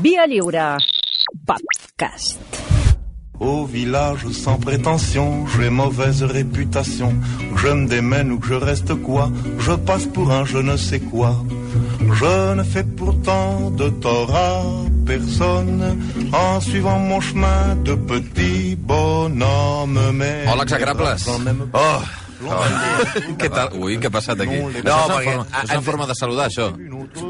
Via Lliure. Podcast. Au village sans prétention, j'ai mauvaise réputation. Que je me démène ou que je reste quoi, je passe pour un je ne sais quoi. Je ne fais pourtant de tort à personne en suivant mon chemin de petit bonhomme. Mais Hola, exagrables. Oh, Què tal? Ui, què ha passat aquí? No, No, perquè... perquè- És una forma de saludar, això.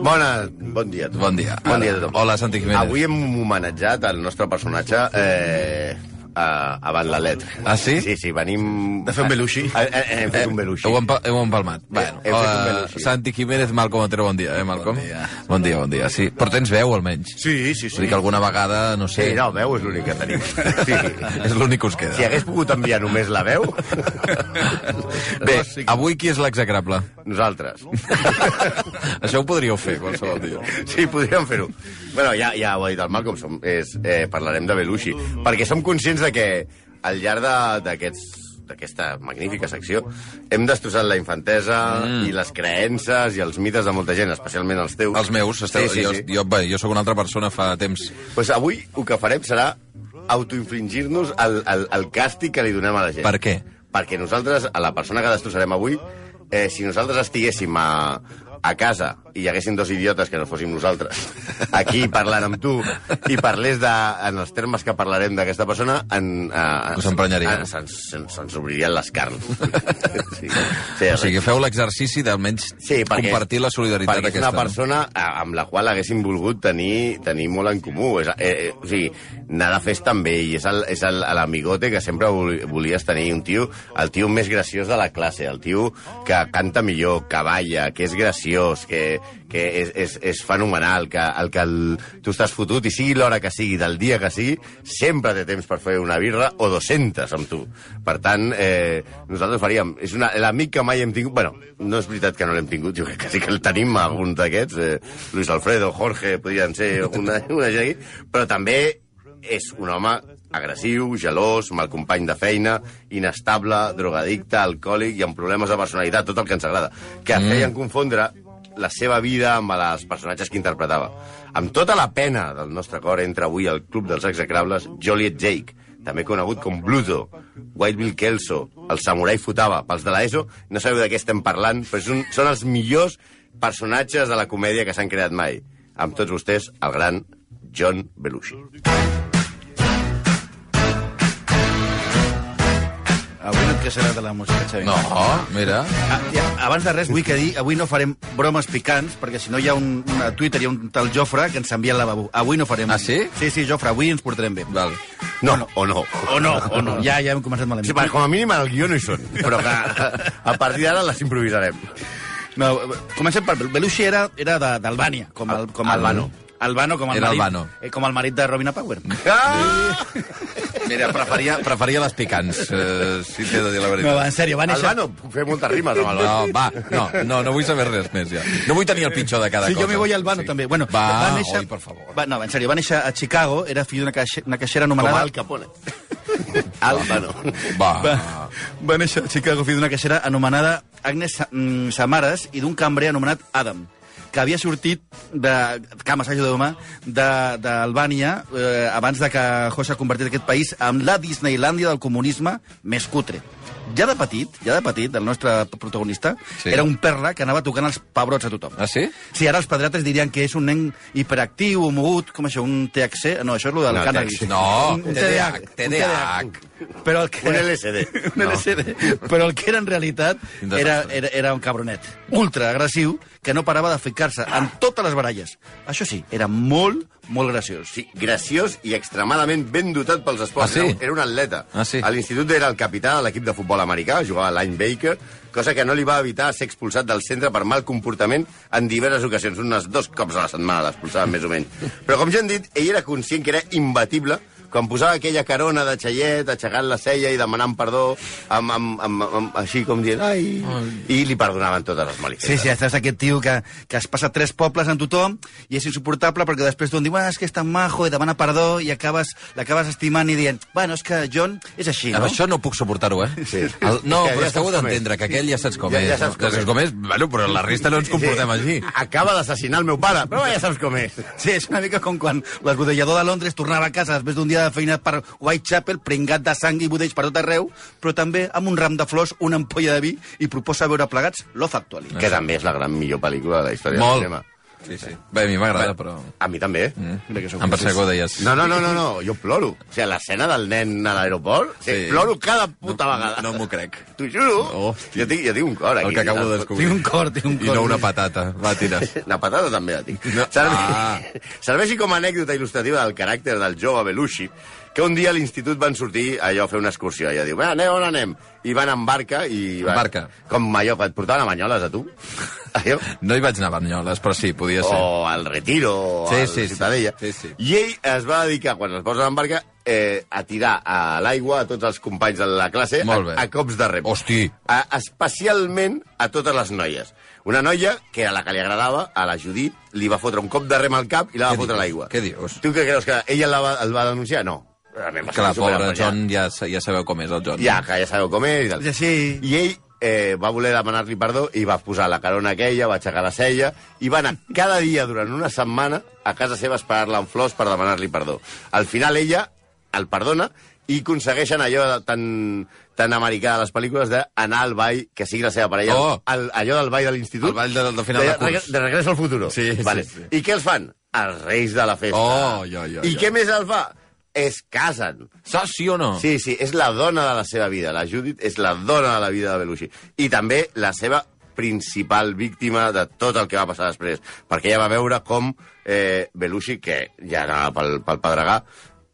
Bona, bon dia a tothom. Bon dia. Bon dia a tothom. Hola, Santi Jiménez. Avui hem homenatjat el nostre personatge eh, a, avant la letra. Ah, sí? Sí, sí, venim... De fer un beluixi. Eh, eh, Hem fet un beluixi. Heu, empa heu empalmat. Bueno, Heu fet un hola, beluixi. Santi Jiménez, Malcom Otero, bon dia, eh, Malcom? Bon dia. Bon dia, bon dia, sí. Però tens veu, almenys. Sí, sí, Vull dir que alguna vegada, no sé... Sí, no, veu és l'únic que tenim. Sí. És l'únic que us Si queda. hagués pogut enviar només la veu, Bé, avui qui és l'execrable? nosaltres. Això ho podríeu fer qualsevol dia. Sí, podríem fer-ho. Bueno, ja, ja ho ha dit el Malcolm, som, és, eh, parlarem de Belushi, perquè som conscients de que al llarg de- d'aquests d'aquesta magnífica secció, hem destrossat la infantesa mm. i les creences i els mites de molta gent, especialment els teus. Els meus, esteu, Sí, sí, jo, sí. Jo, bé, jo sóc una altra persona fa temps. Pues avui el que farem serà autoinfligir-nos el, el, el càstig que li donem a la gent. Per què? Perquè nosaltres, a la persona que destrossarem avui, eh, si nosaltres estiguéssim a, a casa i hi haguessin dos idiotes que no fóssim nosaltres aquí parlant amb tu i parlés de, en els termes que parlarem d'aquesta persona en, eh, Us emprenyaríeu. eh, se'ns se'ns- se'ns obririen les carns sí, sí, O sigui, feu l'exercici d'almenys Sí, perquè, compartir la solidaritat perquè és una aquesta. no? persona a- amb la qual haguéssim volgut tenir, tenir molt en comú. És, eh, eh, o sigui, anar de festa amb ell. És el- és el- l'amigote que sempre vol- volies tenir. Un tio, el tio més graciós de la classe, el tio que canta millor, que balla, que és graciós, que, que és, és, és fenomenal, que el que el, tu estàs fotut i sigui l'hora que sigui, del dia que sigui, sempre té temps per fer una birra o 200 amb tu. Per tant, eh, nosaltres faríem... És una- l'amic que mai hem tingut... Bueno, no és veritat que no l'hem tingut, jo crec que sí que el tenim algun d'aquests, eh, Luis Alfredo, Jorge, podrien ser una, una gent aquí, però també és un home agressiu, gelós, mal company de feina, inestable, drogadicte, alcohòlic i amb problemes de personalitat, tot el que ens agrada, que mm. feien confondre la seva vida amb els personatges que interpretava. Amb tota la pena del nostre cor entra avui al Club dels Execrables Joliet Jake, també conegut com Bluto, White Bill Kelso, el samurai Futaba, pels de l'ESO, no sabeu de què estem parlant, però són, són els millors personatges de la comèdia que s'han creat mai. Amb tots vostès, el gran John Belushi. Avui no et queixaràs de la música, Xavi. No, Oh, mira, Ah, ja, abans de res, vull que dir, avui no farem bromes picants, perquè si no hi ha un, un- a Twitter, hi ha un tal Jofre que ens envia al lavabo. Avui no farem... Ah, sí? Sí, sí, Jofre, avui ens portarem bé. val. No, o no. O no, o no, ja, ja hem començat malament. Sí, perquè com a mínim en el guió no hi són, però que a partir d'ara les improvisarem. No, comencem per... Belushi era, era de- d'Albània, com el... Com el- Albano. Albano, com Ah, el, Era marit, Albano. Eh, com el marit de Robina Power. Ah! Mira, preferia, preferia les picants, eh, si t'he de dir la veritat. No, va, en sèrio, va néixer... Albano, puc fer moltes rimes amb No, Albano. va, no, no, no vull saber res més, ja. No vull tenir el pitjor de cada Sí, cosa. jo m'hi vull al Albano, sí. també. Bueno, va, va néixer... oi, per favor. Va, no, en sèrio, va néixer a Chicago, era fill d'una caixe- una caixera Com anomenada... Al Capone. Albano. Va. Va, va néixer a Chicago fill d'una caixera anomenada Agnes Sa- mm, Samaras i d'un cambrer anomenat Adam, que havia sortit de cames ajuda d'home de- d'Albània eh, abans de que José convertit aquest país en la Disneylandia del comunisme més cutre. Ja de petit, ja de petit, el nostre protagonista, Sí. sí. era un perla que anava tocant els pebrots a tothom. Ah, sí? Sí, ara els pedrates dirien que és un nen hiperactiu o mogut, com això, un THC... No, això és el del No, no, cannabis. THC. No, un TDAH, TDAH. TDAH. Però el que... Un LSD. un LSD. Però el que era en realitat Quin era, desastre. era, era un cabronet ultra agressiu que no parava de ficar-se en totes les baralles. Això sí, era molt, molt graciós. Sí, graciós i extremadament ben dotat pels esports. Ah, sí? Era un atleta. Ah, sí? A l'institut era el capità de l'equip de futbol americà, jugava a l'any Baker, cosa que no li va evitar ser expulsat del centre per mal comportament en diverses ocasions, unes dos cops a la setmana l'expulsaven més o menys. Però com ja hem dit, ell era conscient que era imbatible Quan posava aquella carona de xaiet, aixecant la cella i demanant perdó, amb, amb, amb, amb, així com dient, ai... I li perdonaven totes les malifetes. Sí, sí, estàs aquest tio que, que es passa tres pobles amb tothom i és insuportable perquè després t'on diu, bueno, és que és tan majo i demana perdó i acabes l'acabes estimant i dient, bueno, és que John és així, Amb no? això no puc suportar-ho, eh? Sí. El, no, però Ja- ja és que ho saps heu com és. d'entendre, que aquell ja saps com Ja- és. ja saps com ja saps és. com és. Bueno, però la resta no ens comportem així. Acaba d'assassinar el meu pare, però ja saps com és. Sí, és una mica com quan l'esbudellador de Londres tornava a casa després d'un dia de feina per Whitechapel, pringat de sang i budells per tot arreu, però també amb un ram de flors, una ampolla de vi i proposa veure plegats Love Actually. Que també és la gran millor pel·lícula de la història Molt. del cinema. Sí, sí. Bé, a mi m'agrada, però... A mi també. Mm. Mira que sóc Em pensava que ho deies. procés. No, no, no, no, no, jo ploro. O sigui, l'escena del nen a l'aeroport, o sigui, Sí. sí. ploro cada puta No- vegada. no m'ho crec. T'ho juro. Hòstia. Jo tinc, jo tinc un cor aquí. El que acabo de descobrir. Tinc un cor, tinc un I cor. no una patata. Va, tira. La patata també la tinc. No. No. Serve... Ah. Ah. Serveixi com a anècdota il·lustrativa del caràcter del jove Belushi, que un dia a l'institut van sortir allò a fer una excursió. Ella diu, va, anem, on anem? I van en barca i... En va- barca. Com allò, et portaven a Banyoles, a tu? Allò? No hi vaig anar a Banyoles, però sí, podia ser. o al Retiro, o Sí, sí, sí, sí. sí, Ciutadella. Sí, sí. I ell es va dedicar, quan es posa en barca, eh, a tirar a l'aigua a tots els companys de la classe a, Molt bé. a cops de rem. Hosti. A, especialment a totes les noies. Una noia que a la que li agradava, a la Judit, li va fotre un cop de rem al cap i la Què va fotre a dius? l'aigua. Què dius? Tu què creus, que ella la va, el va denunciar? No. Anem a Que la ser pobra superemprenyats. John ja, sa- ja sabeu com és el John. Ja, que ja sabeu com és i tal. És així. I ell eh, va voler demanar-li perdó i va posar la carona aquella, va aixecar la cella i va anar cada dia durant una setmana a casa seva a esperar-la amb flors per demanar-li perdó. Al final ella el perdona i aconsegueixen allò de, tan, tan americà de les pel·lícules d'anar al ball, que sigui la seva parella, Oh! al, allò del ball de l'institut. El ball de- del final de curs. reg- De regreso al futuro. Sí, sí, vale. sí. I què els fan? Els reis de la festa. Oh, ja, ja, I ja. què més el fa? Es casen. Saps sí o no? Sí, sí, és la dona de la seva vida. La Judith és la dona de la vida de Belushi. I també la seva principal víctima de tot el que va passar després. Perquè ella va veure com eh, Belushi, que ja anava pel, pel pedregar,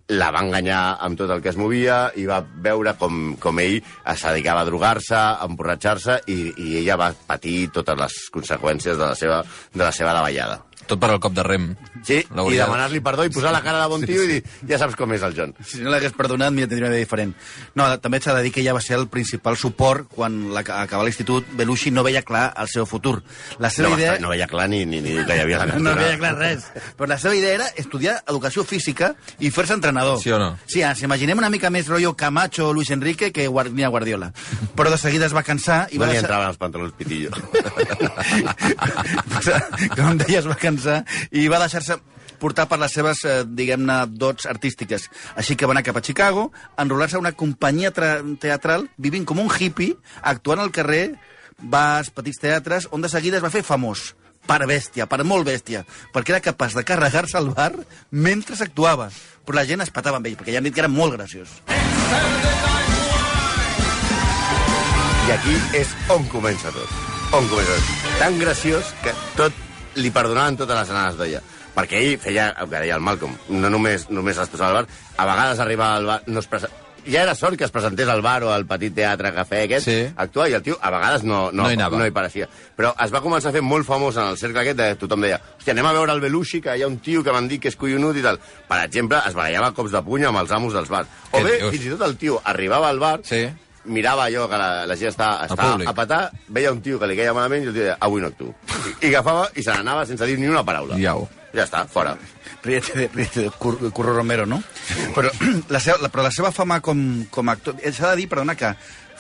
la va enganyar amb tot el que es movia i va veure com, com ell es dedicava a drogar-se, a emborratxar-se i, i ella va patir totes les conseqüències de la seva, de la seva davallada. Tot per al cop de rem. Sí, i L'hauria- demanar-li perdó i posar la cara de bon tio i dir, ja saps com és el John. si no l'hagués perdonat, mira, tindria una idea diferent. No, també s'ha de dir que ella va ser el principal suport quan la, acabava l'institut, Belushi no veia clar el seu futur. La seva No, idea... no veia clar ni, ni, ni que hi havia la no cartera. veia clar res. Però la seva idea era estudiar educació física i fer-se entrenador. Sí o no? Sí, ens imaginem una mica més rotllo Camacho o Luis Enrique que Guar- ni a Guardiola. Però de seguida es va cansar i No va li deixar... entraven els pantalons pitillo. Com deia, es va cansar i va deixar-se portar per les seves, eh, diguem-ne, dots artístiques. Així que va anar cap a Chicago, enrolar-se a una companyia tra- teatral, vivint com un hippie, actuant al carrer, va als petits teatres, on de seguida es va fer famós per bèstia, per molt bèstia, perquè era capaç de carregar-se al bar mentre s'actuava. Però la gent es patava amb ell, perquè ja han dit que era molt graciós. I aquí és on comença tot. On comença tot. Tan graciós que tot li perdonaven totes les anades d'olla. Perquè ell feia, el que deia el Malcolm, no només, només es posava al bar, a vegades arribava al bar, no es presen... ja era sort que es presentés al bar o al petit teatre cafè aquest, Sí. actuar, i el tio a vegades no, no, No hi anava. no hi pareixia. Però es va començar a fer molt famós en el cercle aquest, de tothom deia, hòstia, anem a veure el Belushi, que hi ha un tio que m'han dit que és collonut i tal. Per exemple, es barallava a cops de puny amb els amos dels bars. O Què bé, dius? fins i tot el tio arribava al bar, Sí. mirava allò que la, la gent estava, públic. estava a patar, veia un tio que li queia malament i el tio deia, avui no actuo. I, i agafava i se n'anava sense dir ni una paraula. Iau. Ja està, fora. Ríete de, ríete de Cur Curro Romero, no? Però la seva, la, però la seva fama com, com a actor... eh, S'ha de dir, perdona, que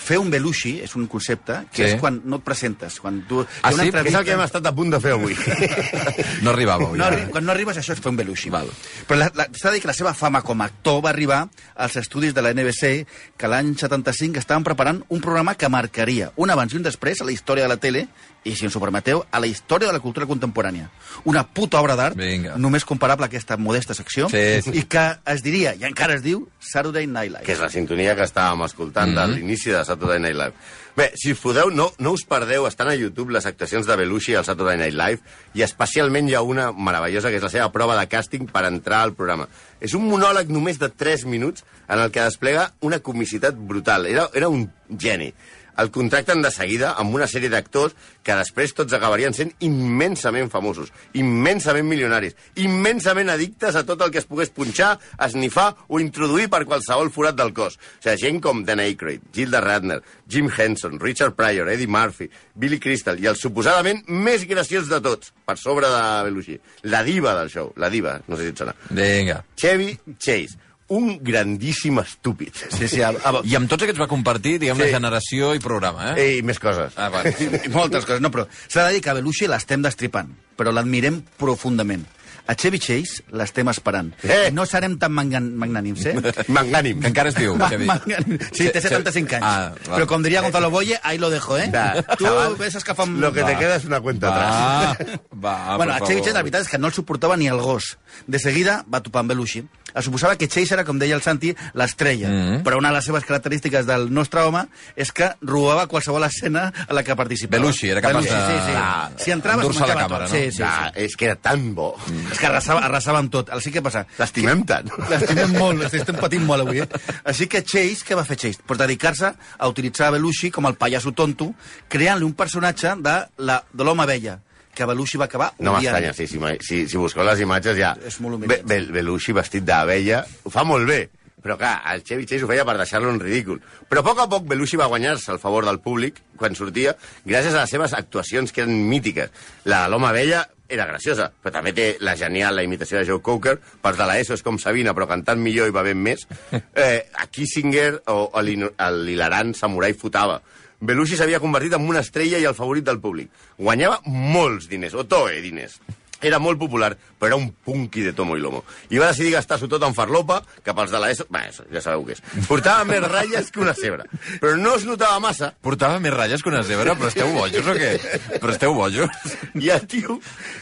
fer un belushi és un concepte Sí. que és quan no et presentes, quan tu... Ah, sí? Que hi ha una és entrevista- el que hem estat a punt de fer avui. No arribava. avui. no, arri- quan no arribes a això és fer un belushi. Val. Però la- la- s'ha de dir que la seva fama com a actor va arribar als estudis de la NBC que l'any 75 estaven preparant un programa que marcaria un abans i un després a la història de la tele i, si ens ho permeteu, a la història de la cultura contemporània. Una puta obra d'art, Vinga. només comparable a aquesta modesta secció, Sí, sí. i que es diria, i encara es diu, Saturday Night Live. que és la sintonia que estàvem escoltant mm -hmm. de l'inici de Saturday Night Live. Bé, si us podeu, no, no us perdeu, estan a YouTube les actuacions de Belushi al Saturday Night Live i especialment hi ha una meravellosa, que és la seva prova de càsting per entrar al programa. És un monòleg només de 3 minuts en el que desplega una comicitat brutal. Era, era un geni. el contracten de seguida amb una sèrie d'actors que després tots acabarien sent immensament famosos, immensament milionaris, immensament addictes a tot el que es pogués punxar, esnifar o introduir per qualsevol forat del cos. O sigui, gent com Dan Aykroyd, Gilda Radner, Jim Henson, Richard Pryor, Eddie Murphy, Billy Crystal i el suposadament més graciós de tots, per sobre de Belushi, la diva del show, la diva, no sé si et sona. Vinga. Chevy Chase, un grandíssim estúpid. Sí, sí, a, a, I amb tots aquests va compartir, diguem-ne, Sí. generació i programa, eh? Eh, I més coses. Ah, va. I moltes coses. No, però s'ha de dir que a Belushi l'estem destripant, però l'admirem profundament. A Chevy Chase l'estem esperant. Eh! Eh! No serem tan mangan magnànims, eh? Mangànim. Que encara es diu, Ma- Xavi. mangan- Sí, té Che- 75 anys. Ah, va. però com diria Gonzalo Boye, ahí lo dejo, eh? Va, tu chaval, ves escafant... Lo que te Va. queda es una cuenta atrás. Va, Ah, va, bueno, per a Chevy favor. Chase la veritat és que no el suportava ni el gos. De seguida va topar amb Belushi. Es suposava que Chase era, com deia el Santi, l'estrella. Mm Mhm. -hmm. Però una de les seves característiques del nostre home és que robava qualsevol escena a la que participava. Belushi era capaç Belushi, de- Sí, sí. de- Si entrava, endur-se es menjava la càmera, tot. no? Sí, sí, Ah, sí. Mm. és que era tan bo. És que arrasava, arrasava amb tot. Així que passa? L'estimem tant. L'estimem molt, estem patint molt avui, eh? Així que Chase, què va fer Chase? Pues dedicar-se a utilitzar Belushi com el pallasso tonto, creant-li un personatge de la- de l'home vella, que Belushi va acabar No odiant. m'estranya, sí, si, ma- si, si busqueu les imatges ja... És molt humil. Be, Be, Belushi vestit d'abella ho fa molt bé, però clar, el Chevy Chase ho feia per deixar-lo en ridícul. Però a poc a poc Belushi va guanyar-se el favor del públic quan sortia, gràcies a les seves actuacions que eren mítiques. La de l'home vella era graciosa, però també té la genial la imitació de Joe Cocker, per de la ESO és com Sabina, però cantant millor i bevent més. Eh, a Kissinger o, o l'ino- a l'hilarant Samurai Futaba. Belushi s'havia convertit en una estrella i el favorit del públic. Guanyava molts diners, o toe diners. Era molt popular, però era un punqui de tomo i lomo. I va decidir gastar-s'ho tot en farlopa, que pels de l'ESO... Bé, això ja sabeu què és. Portava més ratlles que una cebra. Però no es notava massa, Portava més ratlles que una zebra, però esteu bojos o què? Però esteu bojos? i el tio...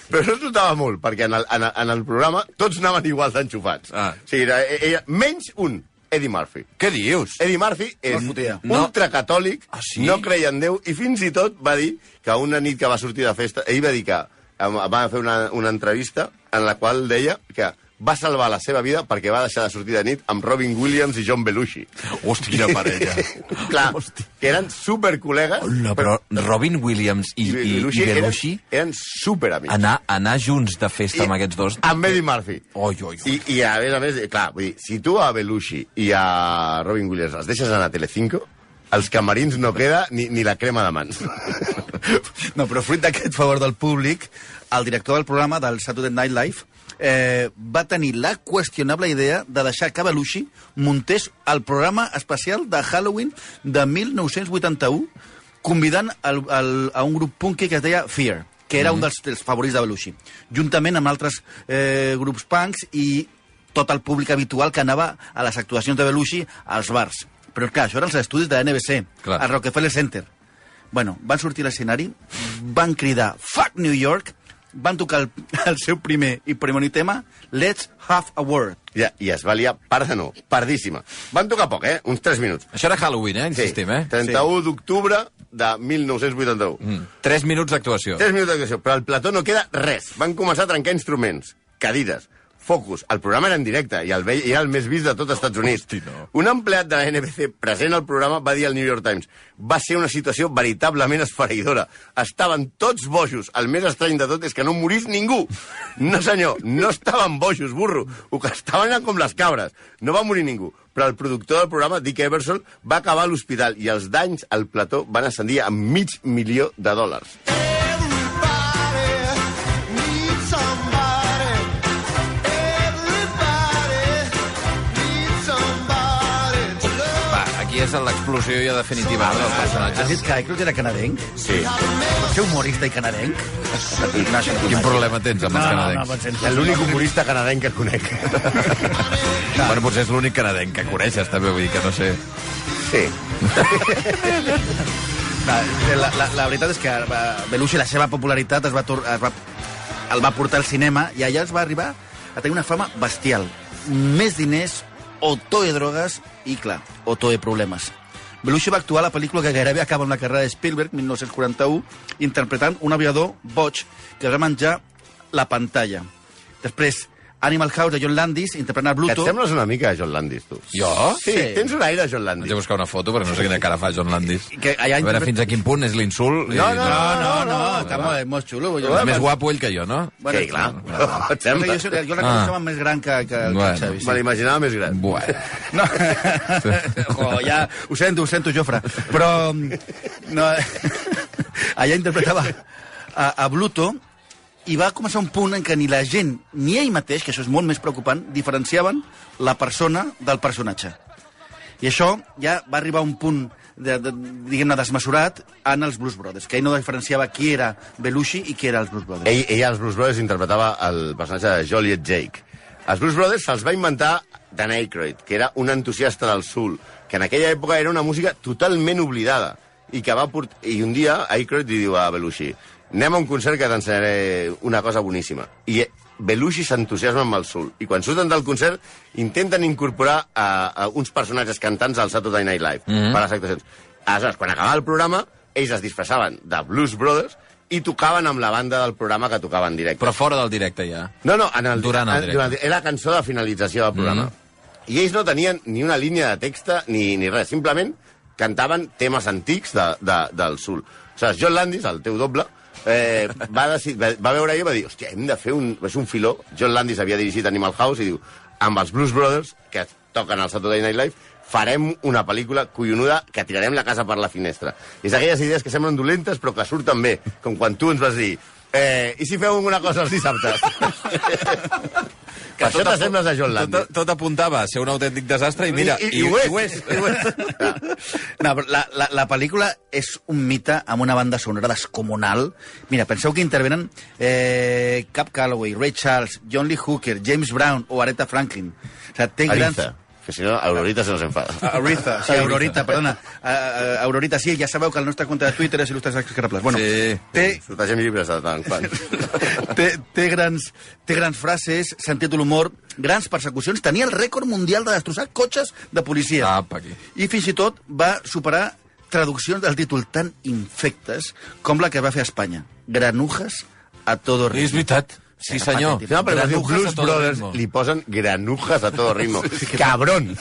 Però no es notava molt, perquè en el, en el, en el programa tots anaven igual d'enxufats. Ah. O sigui, era, era, menys un, Eddie Murphy. Què dius? Eddie Murphy és No fotia. no. ultracatòlic, Ah, sí? no creia en Déu, i fins i tot va dir que una nit que va sortir de festa, ell va dir que em- va fer una, una entrevista en la qual deia que va salvar la seva vida perquè va deixar de sortir de nit amb Robin Williams i John Belushi. Hosti, quina parella. Clar, que eren supercol·legues, Hola, però Robin Williams i, i, i Belushi eren, eren superamics. anar, anar junts de festa amb aquests dos... Amb Eddie Murphy. Oi, oi, oi. I, I a més a més, eh, clar, vull dir, si tu a Belushi i a Robin Williams els deixes anar a Telecinco, als camarins no queda ni, ni la crema de mans. No, però fruit d'aquest favor del públic, el director del programa del Saturday Night Live eh, va tenir la qüestionable idea de deixar que Belushi muntés el programa especial de Halloween de 1981 convidant el, el, a un grup punky que es deia Fear, que era mm -hmm. un dels, dels favorits de Belushi, juntament amb altres eh, grups punks i tot el públic habitual que anava a les actuacions de Belushi als bars. Però clar, això eren els estudis de NBC, Clar. al Rockefeller Center. Bueno, van sortir a l'escenari, van cridar Fuck New York, van tocar el, el seu primer i premoni tema, Let's Have a Word. I, I es va liar, parda no, pardíssima. Van tocar poc, eh? Uns 3 minuts. Això era Halloween, eh? Insistim, eh? 31 sí. d'octubre de 1981. Mm. Tres minuts d'actuació. 3 minuts d'actuació, però al plató no queda res. Van començar a trencar instruments, cadires, focus. El programa era en directe i el, vell, i era el més vist de tot Estats Units. Hosti, no. Un empleat de la NBC present al programa va dir al New York Times va ser una situació veritablement esfereïdora. Estaven tots bojos. El més estrany de tot és que no morís ningú. No, senyor, no estaven bojos, burro. O que estaven eren com les cabres. No va morir ningú. Però el productor del programa, Dick Everson, va acabar a l'hospital i els danys al plató van ascendir a mig milió de dòlars. Va, aquí és l'explosió ja definitiva no, del Has personatge. dit que Eklund era canadenc? Sí. Pot ser humorista i canadenc? Quin problema tens amb els canadencs? És l'únic humorista canadenc que conec. Bueno, potser és l'únic canadenc que coneixes, també, vull dir que no sé. Sí. No, eh, la, la, la veritat és que eh, Belushi, la seva popularitat, es va, tor- es va, el va portar al cinema i allà es va arribar a tenir una fama bestial. Més diners, otó de drogues i, clar, otó de problemes. Belushi va actuar a la pel·lícula que gairebé acaba amb la carrera de Spielberg, 1941, interpretant un aviador boig que es va menjar la pantalla. Després, Animal House de John Landis, interpretant a Que et Bluto. sembles una mica a John Landis, tu. Jo? Sí, sí. tens un aire a John Vaig Landis. a buscar una foto perquè no sé quina cara fa John Landis. Que A allà veure interpre- fins a quin punt és l'insult. i- No, no, No, no, no, no, està molt, molt xulo. Jo, Més guapo ell que jo, no? Bueno, sí, clar. No, et Jo, sembla. jo, jo, jo la Ah. coneixo ah. més gran que, que, que Bueno. el Xavi. Me l'imaginava més gran. Bueno. No. Jo, ja, ho sento, ho sento, Jofre. Però mm, no, allà interpretava a, a Bluto i va començar un punt en què ni la gent ni ell mateix, que això és molt més preocupant, diferenciaven la persona del personatge. I això ja va arribar a un punt de, de, diguem-ne desmesurat en els Blues Brothers, que ell no diferenciava qui era Belushi i qui era els Blues Brothers. Ell, ell als Blues Brothers interpretava el personatge de Joliet Jake. Els Blues Brothers se'ls va inventar Dan Aykroyd, que era un entusiasta del soul, que en aquella època era una música totalment oblidada, i que va port... I un dia Aykroyd li diu a Belushi, anem a un concert que t'ensenyaré una cosa boníssima. I eh, Belushi s'entusiasma amb el soul. I quan surten del concert intenten incorporar a, a uns personatges cantants al Saturday Night Live, mm -hmm. per a les actuacions. Aleshores, quan acabava el programa, ells es disfressaven de Blues Brothers i tocaven amb la banda del programa que tocava en directe. Però fora del directe, ja. No, no, en el, Durant el en, directe. Mm-hmm. durant, era la cançó de finalització del programa. Mm -hmm. I ells no tenien ni una línia de texta ni, ni res, simplement cantaven temes antics de, de, del sul. O sigui, John Landis, el teu doble, eh, va, decidir, va, va veure ahir i va dir, hòstia, hem de fer un, és un filó. John Landis havia dirigit Animal House i diu, amb els Blues Brothers, que toquen al Saturday Night Live, farem una pel·lícula collonuda que tirarem la casa per la finestra. És d'aquelles idees que semblen dolentes però que surten bé, com quan tu ens vas dir eh, i si feu una cosa els dissabtes? que per això t'assembles a John Landis. Tot, tot apuntava a ser un autèntic desastre i mira... I- i- i ho és. I ho és. No, però la, la, la pel·lícula és un mite amb una banda sonora descomunal. Mira, penseu que intervenen eh, Cap Calloway, Ray Charles, John Lee Hooker, James Brown o Aretha Franklin. O sigui, té grans... Aritza, que si no, Aurorita se nos Ah, enfada. Aretha, sí, Aurorita, perdona. Uh, Aurorita, sí, ja sabeu que el nostre compte de Twitter és il·lustres execrables. Bueno, Sí. té, Sortegem llibres de tant en quant. té, té, grans, té grans frases, sentit de l'humor, grans persecucions. Tenia el rècord mundial de destrossar cotxes de policia. Apa, aquí. I fins i tot va superar traduccions del títol tan infectes com la que va fer a Espanya. Granujas a todo I és ritmo. veritat. Sí, senyor. patètic. Si no, perquè els Granujas a Blues todo Brothers ritmo. li posen granujas a todo ritmo. Cabrón!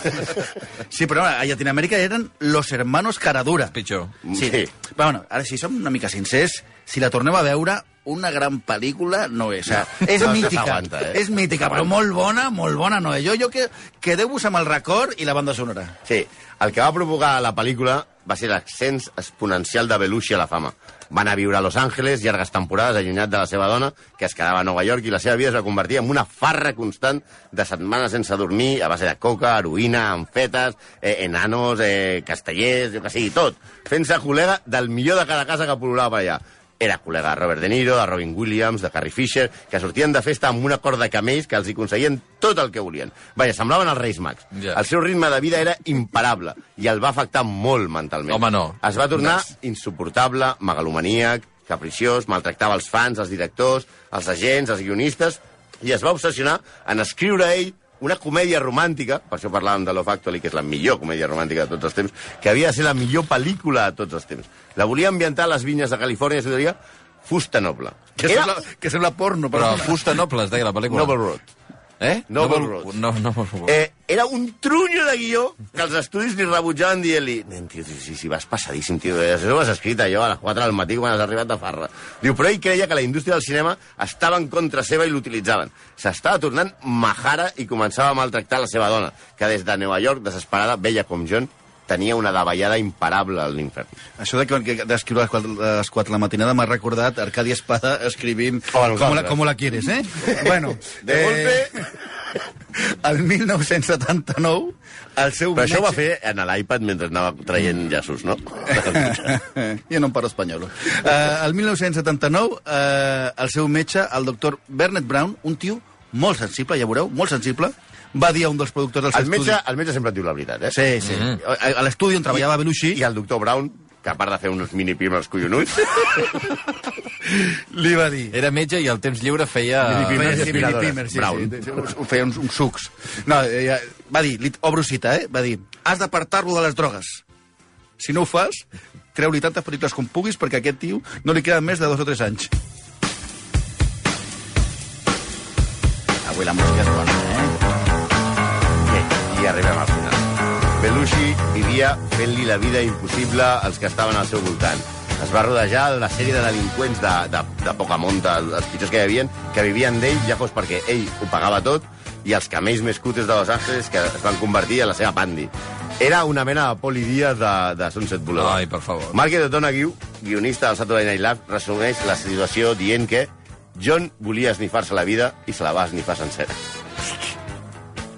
Sí, però a Llatinoamèrica eren los hermanos Caradura. Pitjor. Sí. Sí. sí. Però, bueno, ara, si som una mica sincers, si la tornem a veure, una gran pel·lícula no és. O sigui, és No, no mítica, s'aguanta, eh? és mítica, però molt bona, molt bona no és. Jo, jo que, quedeu-vos amb el record i la banda sonora. Sí, el que va provocar la pel·lícula va ser l'ascens exponencial de Belushi a la fama. Va anar a viure a Los Angeles llargues temporades allunyat de la seva dona, que es quedava a Nova York, i la seva vida es va convertir en una farra constant de setmanes sense dormir, a base de coca, heroïna, amfetes, eh, enanos, eh, castellers, jo que sigui, tot. Fent-se col·lega del millor de cada casa que pol·lulava per allà. Era col·lega de Robert De Niro, de Robin Williams, de Carrie Fisher, que sortien de festa amb una corda de camells que els hi aconseguien tot el que volien. Vaja, semblaven els Reis Mags. Ja. El seu ritme de vida era imparable i el va afectar molt mentalment. Home, no. Es va tornar insuportable, megalomaníac, capriciós, maltractava els fans, els directors, els agents, els guionistes, i es va obsessionar en escriure ell una comèdia romàntica, per això parlàvem de Love Actually, que és la millor comèdia romàntica de tots els temps, que havia de ser la millor pel·lícula de tots els temps. La volia ambientar a les vinyes de Califòrnia, s'ho diria Fusta Noble. Que, Era sembla, que sembla porno, però... Però fusta noble, es deia la pel·lícula. Noble Road. Eh? Noble Road. No, Noble Road. Eh, era un trunyo de guió que els estudis li rebutjaven dient-li nen, tio, tio, si, si vas passadíssim, tio, eh, això ho has escrit allò a les 4 del matí quan has arribat de farra. Diu, però ell creia que la indústria del cinema estava en contra seva i l'utilitzaven. S'estava tornant majara i començava a maltractar la seva dona, que des de Nova York, desesperada, vella com John, tenia una davallada imparable a l'infern. Això de que- que- d'escriure a les quatre- a les 4 de la matinada m'ha recordat Arcadi Espada escrivint O a com la, nosaltres. com la quieres, eh? bueno, eh, De golpe... el 1979, el seu... Però això ho va metge- fer en l'iPad mentre anava traient llaços, no? eh, jo no em paro espanyol. Uh, el 1979, uh, el seu metge, el doctor Bernard Brown, un tio molt sensible, ja veureu, molt sensible, va dir a un dels productors del seu El metge, estudi... el metge sempre et diu la veritat, eh? Sí, sí. Mm -hmm. A l'estudi on treballava Belushi... I el doctor Brown, que a part de fer uns mini-pims als collonuts, li va dir... Era metge i al temps lliure feia... Feia i sí, aspiradores. mini-pimer, sí, Brown. sí, sí, ho feia uns, uns sucs. No, eh, ja, va dir, li, obro cita, eh? Va dir, has d'apartar-lo de les drogues. Si no ho fas, treu-li tantes pel·lícules com puguis perquè a aquest tio no li queden més de dos o tres anys. Avui la música és bona, eh? Bé, Eh, i arribem al final. Belushi vivia fent-li la vida impossible als que estaven al seu voltant. Es va rodejar de la sèrie de delinqüents de, de, de poca monta, els pitjors que hi havia, que vivien d'ell, ja fos perquè ell ho pagava tot, i els camells més cutes de Los Angeles que es van convertir en la seva pandi. Era una mena de Poli Díaz de, de Sunset Boulevard. Ai, per favor. Margaret O'Donoghue, guionista del Saturday Night Live, resumeix la situació dient que John volia esnifar-se la vida i se la va esnifar sencera.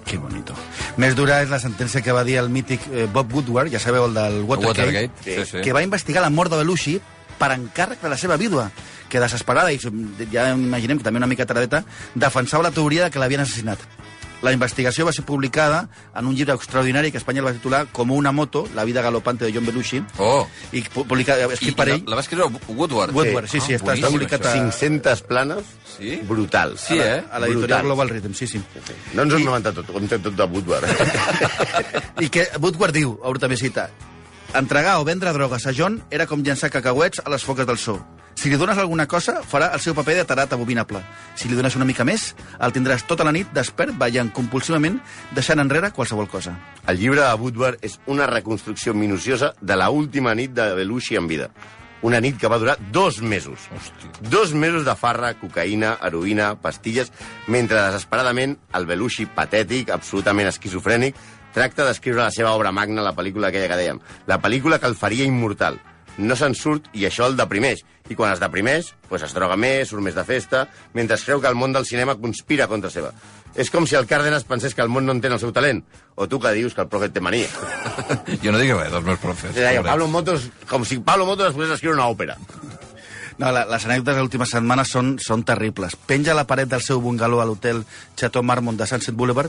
Que bonito. Més dura és la sentència que va dir el mític eh, Bob Woodward, ja sabeu, el del Watergate, Watergate, sí, sí. que va investigar la mort de Belushi per encàrrec de la seva vídua, que desesperada, i ja imaginem que també una mica taradeta, defensava la teoria de que l'havien assassinat. La investigació va ser publicada en un llibre extraordinari que a Espanya el va titular Com una moto, la vida galopante de John Belushi, Oh. i pu- publica, I, escrit per la, ell. la va escriure Woodward. Woodward, sí, sí, està- està boníssim, publicat això. a- 500 planes Sí? brutals. Sí, eh? A l'editorial Brutals. Global Rhythm, sí, sí. No ens ho hem inventat tot, ho hem tret tot de Woodward. I que Woodward diu, a també cita, entregar o vendre drogues a John era com llançar cacauets a les foques del so. Si li dones alguna cosa, farà el seu paper de tarat abominable. Si li dones una mica més, el tindràs tota la nit despert, ballant compulsivament, deixant enrere qualsevol cosa. El llibre de Woodward és una reconstrucció minuciosa de la última nit de Belushi en vida. Una nit que va durar dos mesos. Hòstia. Dos mesos de farra, cocaïna, heroïna, pastilles, mentre desesperadament el Belushi patètic, absolutament esquizofrènic, tracta d'escriure la seva obra magna, la pel·lícula aquella que dèiem. La pel·lícula que el faria immortal. No se'n surt i això el deprimeix. I quan es deprimeix, doncs es droga més, surt més de festa, mentre es creu que el món del cinema conspira contra seva. És com si el Cárdenas pensés que el món no entén el seu talent. O tu que dius que el Proget té mania. Jo no dic res dels meus profes. Deia, pobret. Pablo Motos, com si Pablo Motos es posés a escriure una òpera. No, la, les anècdotes de l'última setmana són, són terribles. Penja a la paret del seu bungalow a l'hotel Chateau Marmont de Sunset Boulevard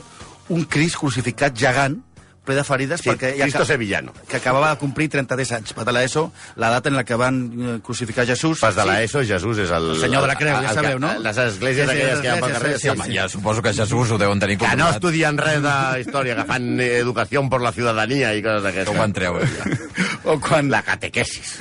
un cris crucificat gegant, ple de ferides, Sí, perquè... ja Cristo ca- Sevillano. que acabava de complir 33 anys. Va de l'ESO, la data en la que van eh, crucificar Jesús. Pas de l'ESO, Jesús és el... El senyor de la creu, el- ja el- sabeu, no? Les esglésies Sí, sí, aquelles les que hi ha pel esglésies, carrer. sí, Sí, Home, sí, ja suposo que Jesús ho deuen tenir Que no controlat. estudien res de història, que fan eh, educació per la ciutadania i coses Que d'aquestes. ho van treure, ja. O quan La catequesis.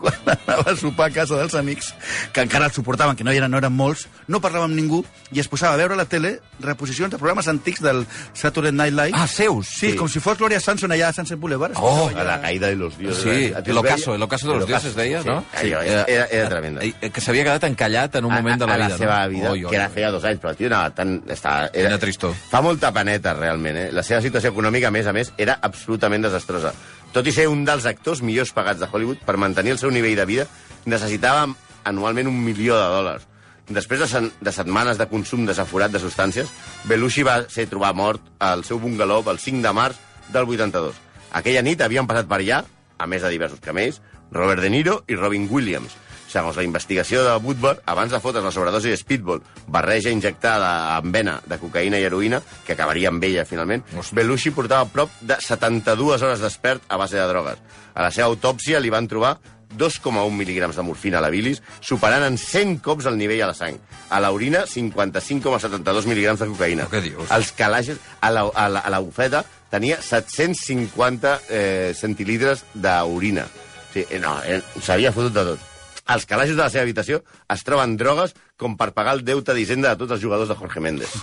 quan anava a sopar a casa dels amics, que encara el suportaven, que no, hi eren, no eren molts, no parlava amb ningú i es posava a veure a la tele reposicions de programes antics del Saturday Night Live. Ah, seus? Sí, sí. com si fos Gloria Sanson allà a Sunset Boulevard. Oh, A la caída de los dioses. Sí, A tu el es veia? ocaso, el ocaso de los dioses, deia, eh? sí. no? Allò, era, era tremenda. Eh, eh, Que s'havia quedat encallat en un moment de la, a, a la vida. seva no? vida, Oi, oi, que era oi. feia dos anys, però el tio anava tan... Estava, era, Quina tristor. Fa molta paneta, realment, eh? La seva situació econòmica, a més a més, era absolutament desastrosa. Tot i ser un dels actors millors pagats de Hollywood, per mantenir el seu nivell de vida, necessitava anualment un milió de dòlars. Després de, sen de setmanes de consum desaforat de substàncies, Belushi va ser trobat mort al seu bungalow el 5 de març del 82. Aquella nit havien passat per allà, a més de diversos camells, Robert De Niro i Robin Williams. Segons la investigació de Woodward, abans de fotre's la sobredosi de Speedball, barreja injectada amb vena de cocaïna i heroïna, que acabaria amb ella, finalment, Hosti. Belushi portava prop de 72 hores despert a base de drogues. A la seva autòpsia li van trobar 2,1 mil·lígrams de morfina a la bilis, superant en 100 cops el nivell a la sang. A l'orina, 55,72 mil·lígrams de cocaïna. Però què dius? Els calaixes, a la, a la, a la bufeta, tenia 750 eh, centilitres d'orina. Sí, eh, no, eh, s'havia fotut de tot. Als calaixos de la seva habitació es troben drogues com per pagar el deute d'Hisenda de tots els jugadors de Jorge Méndez.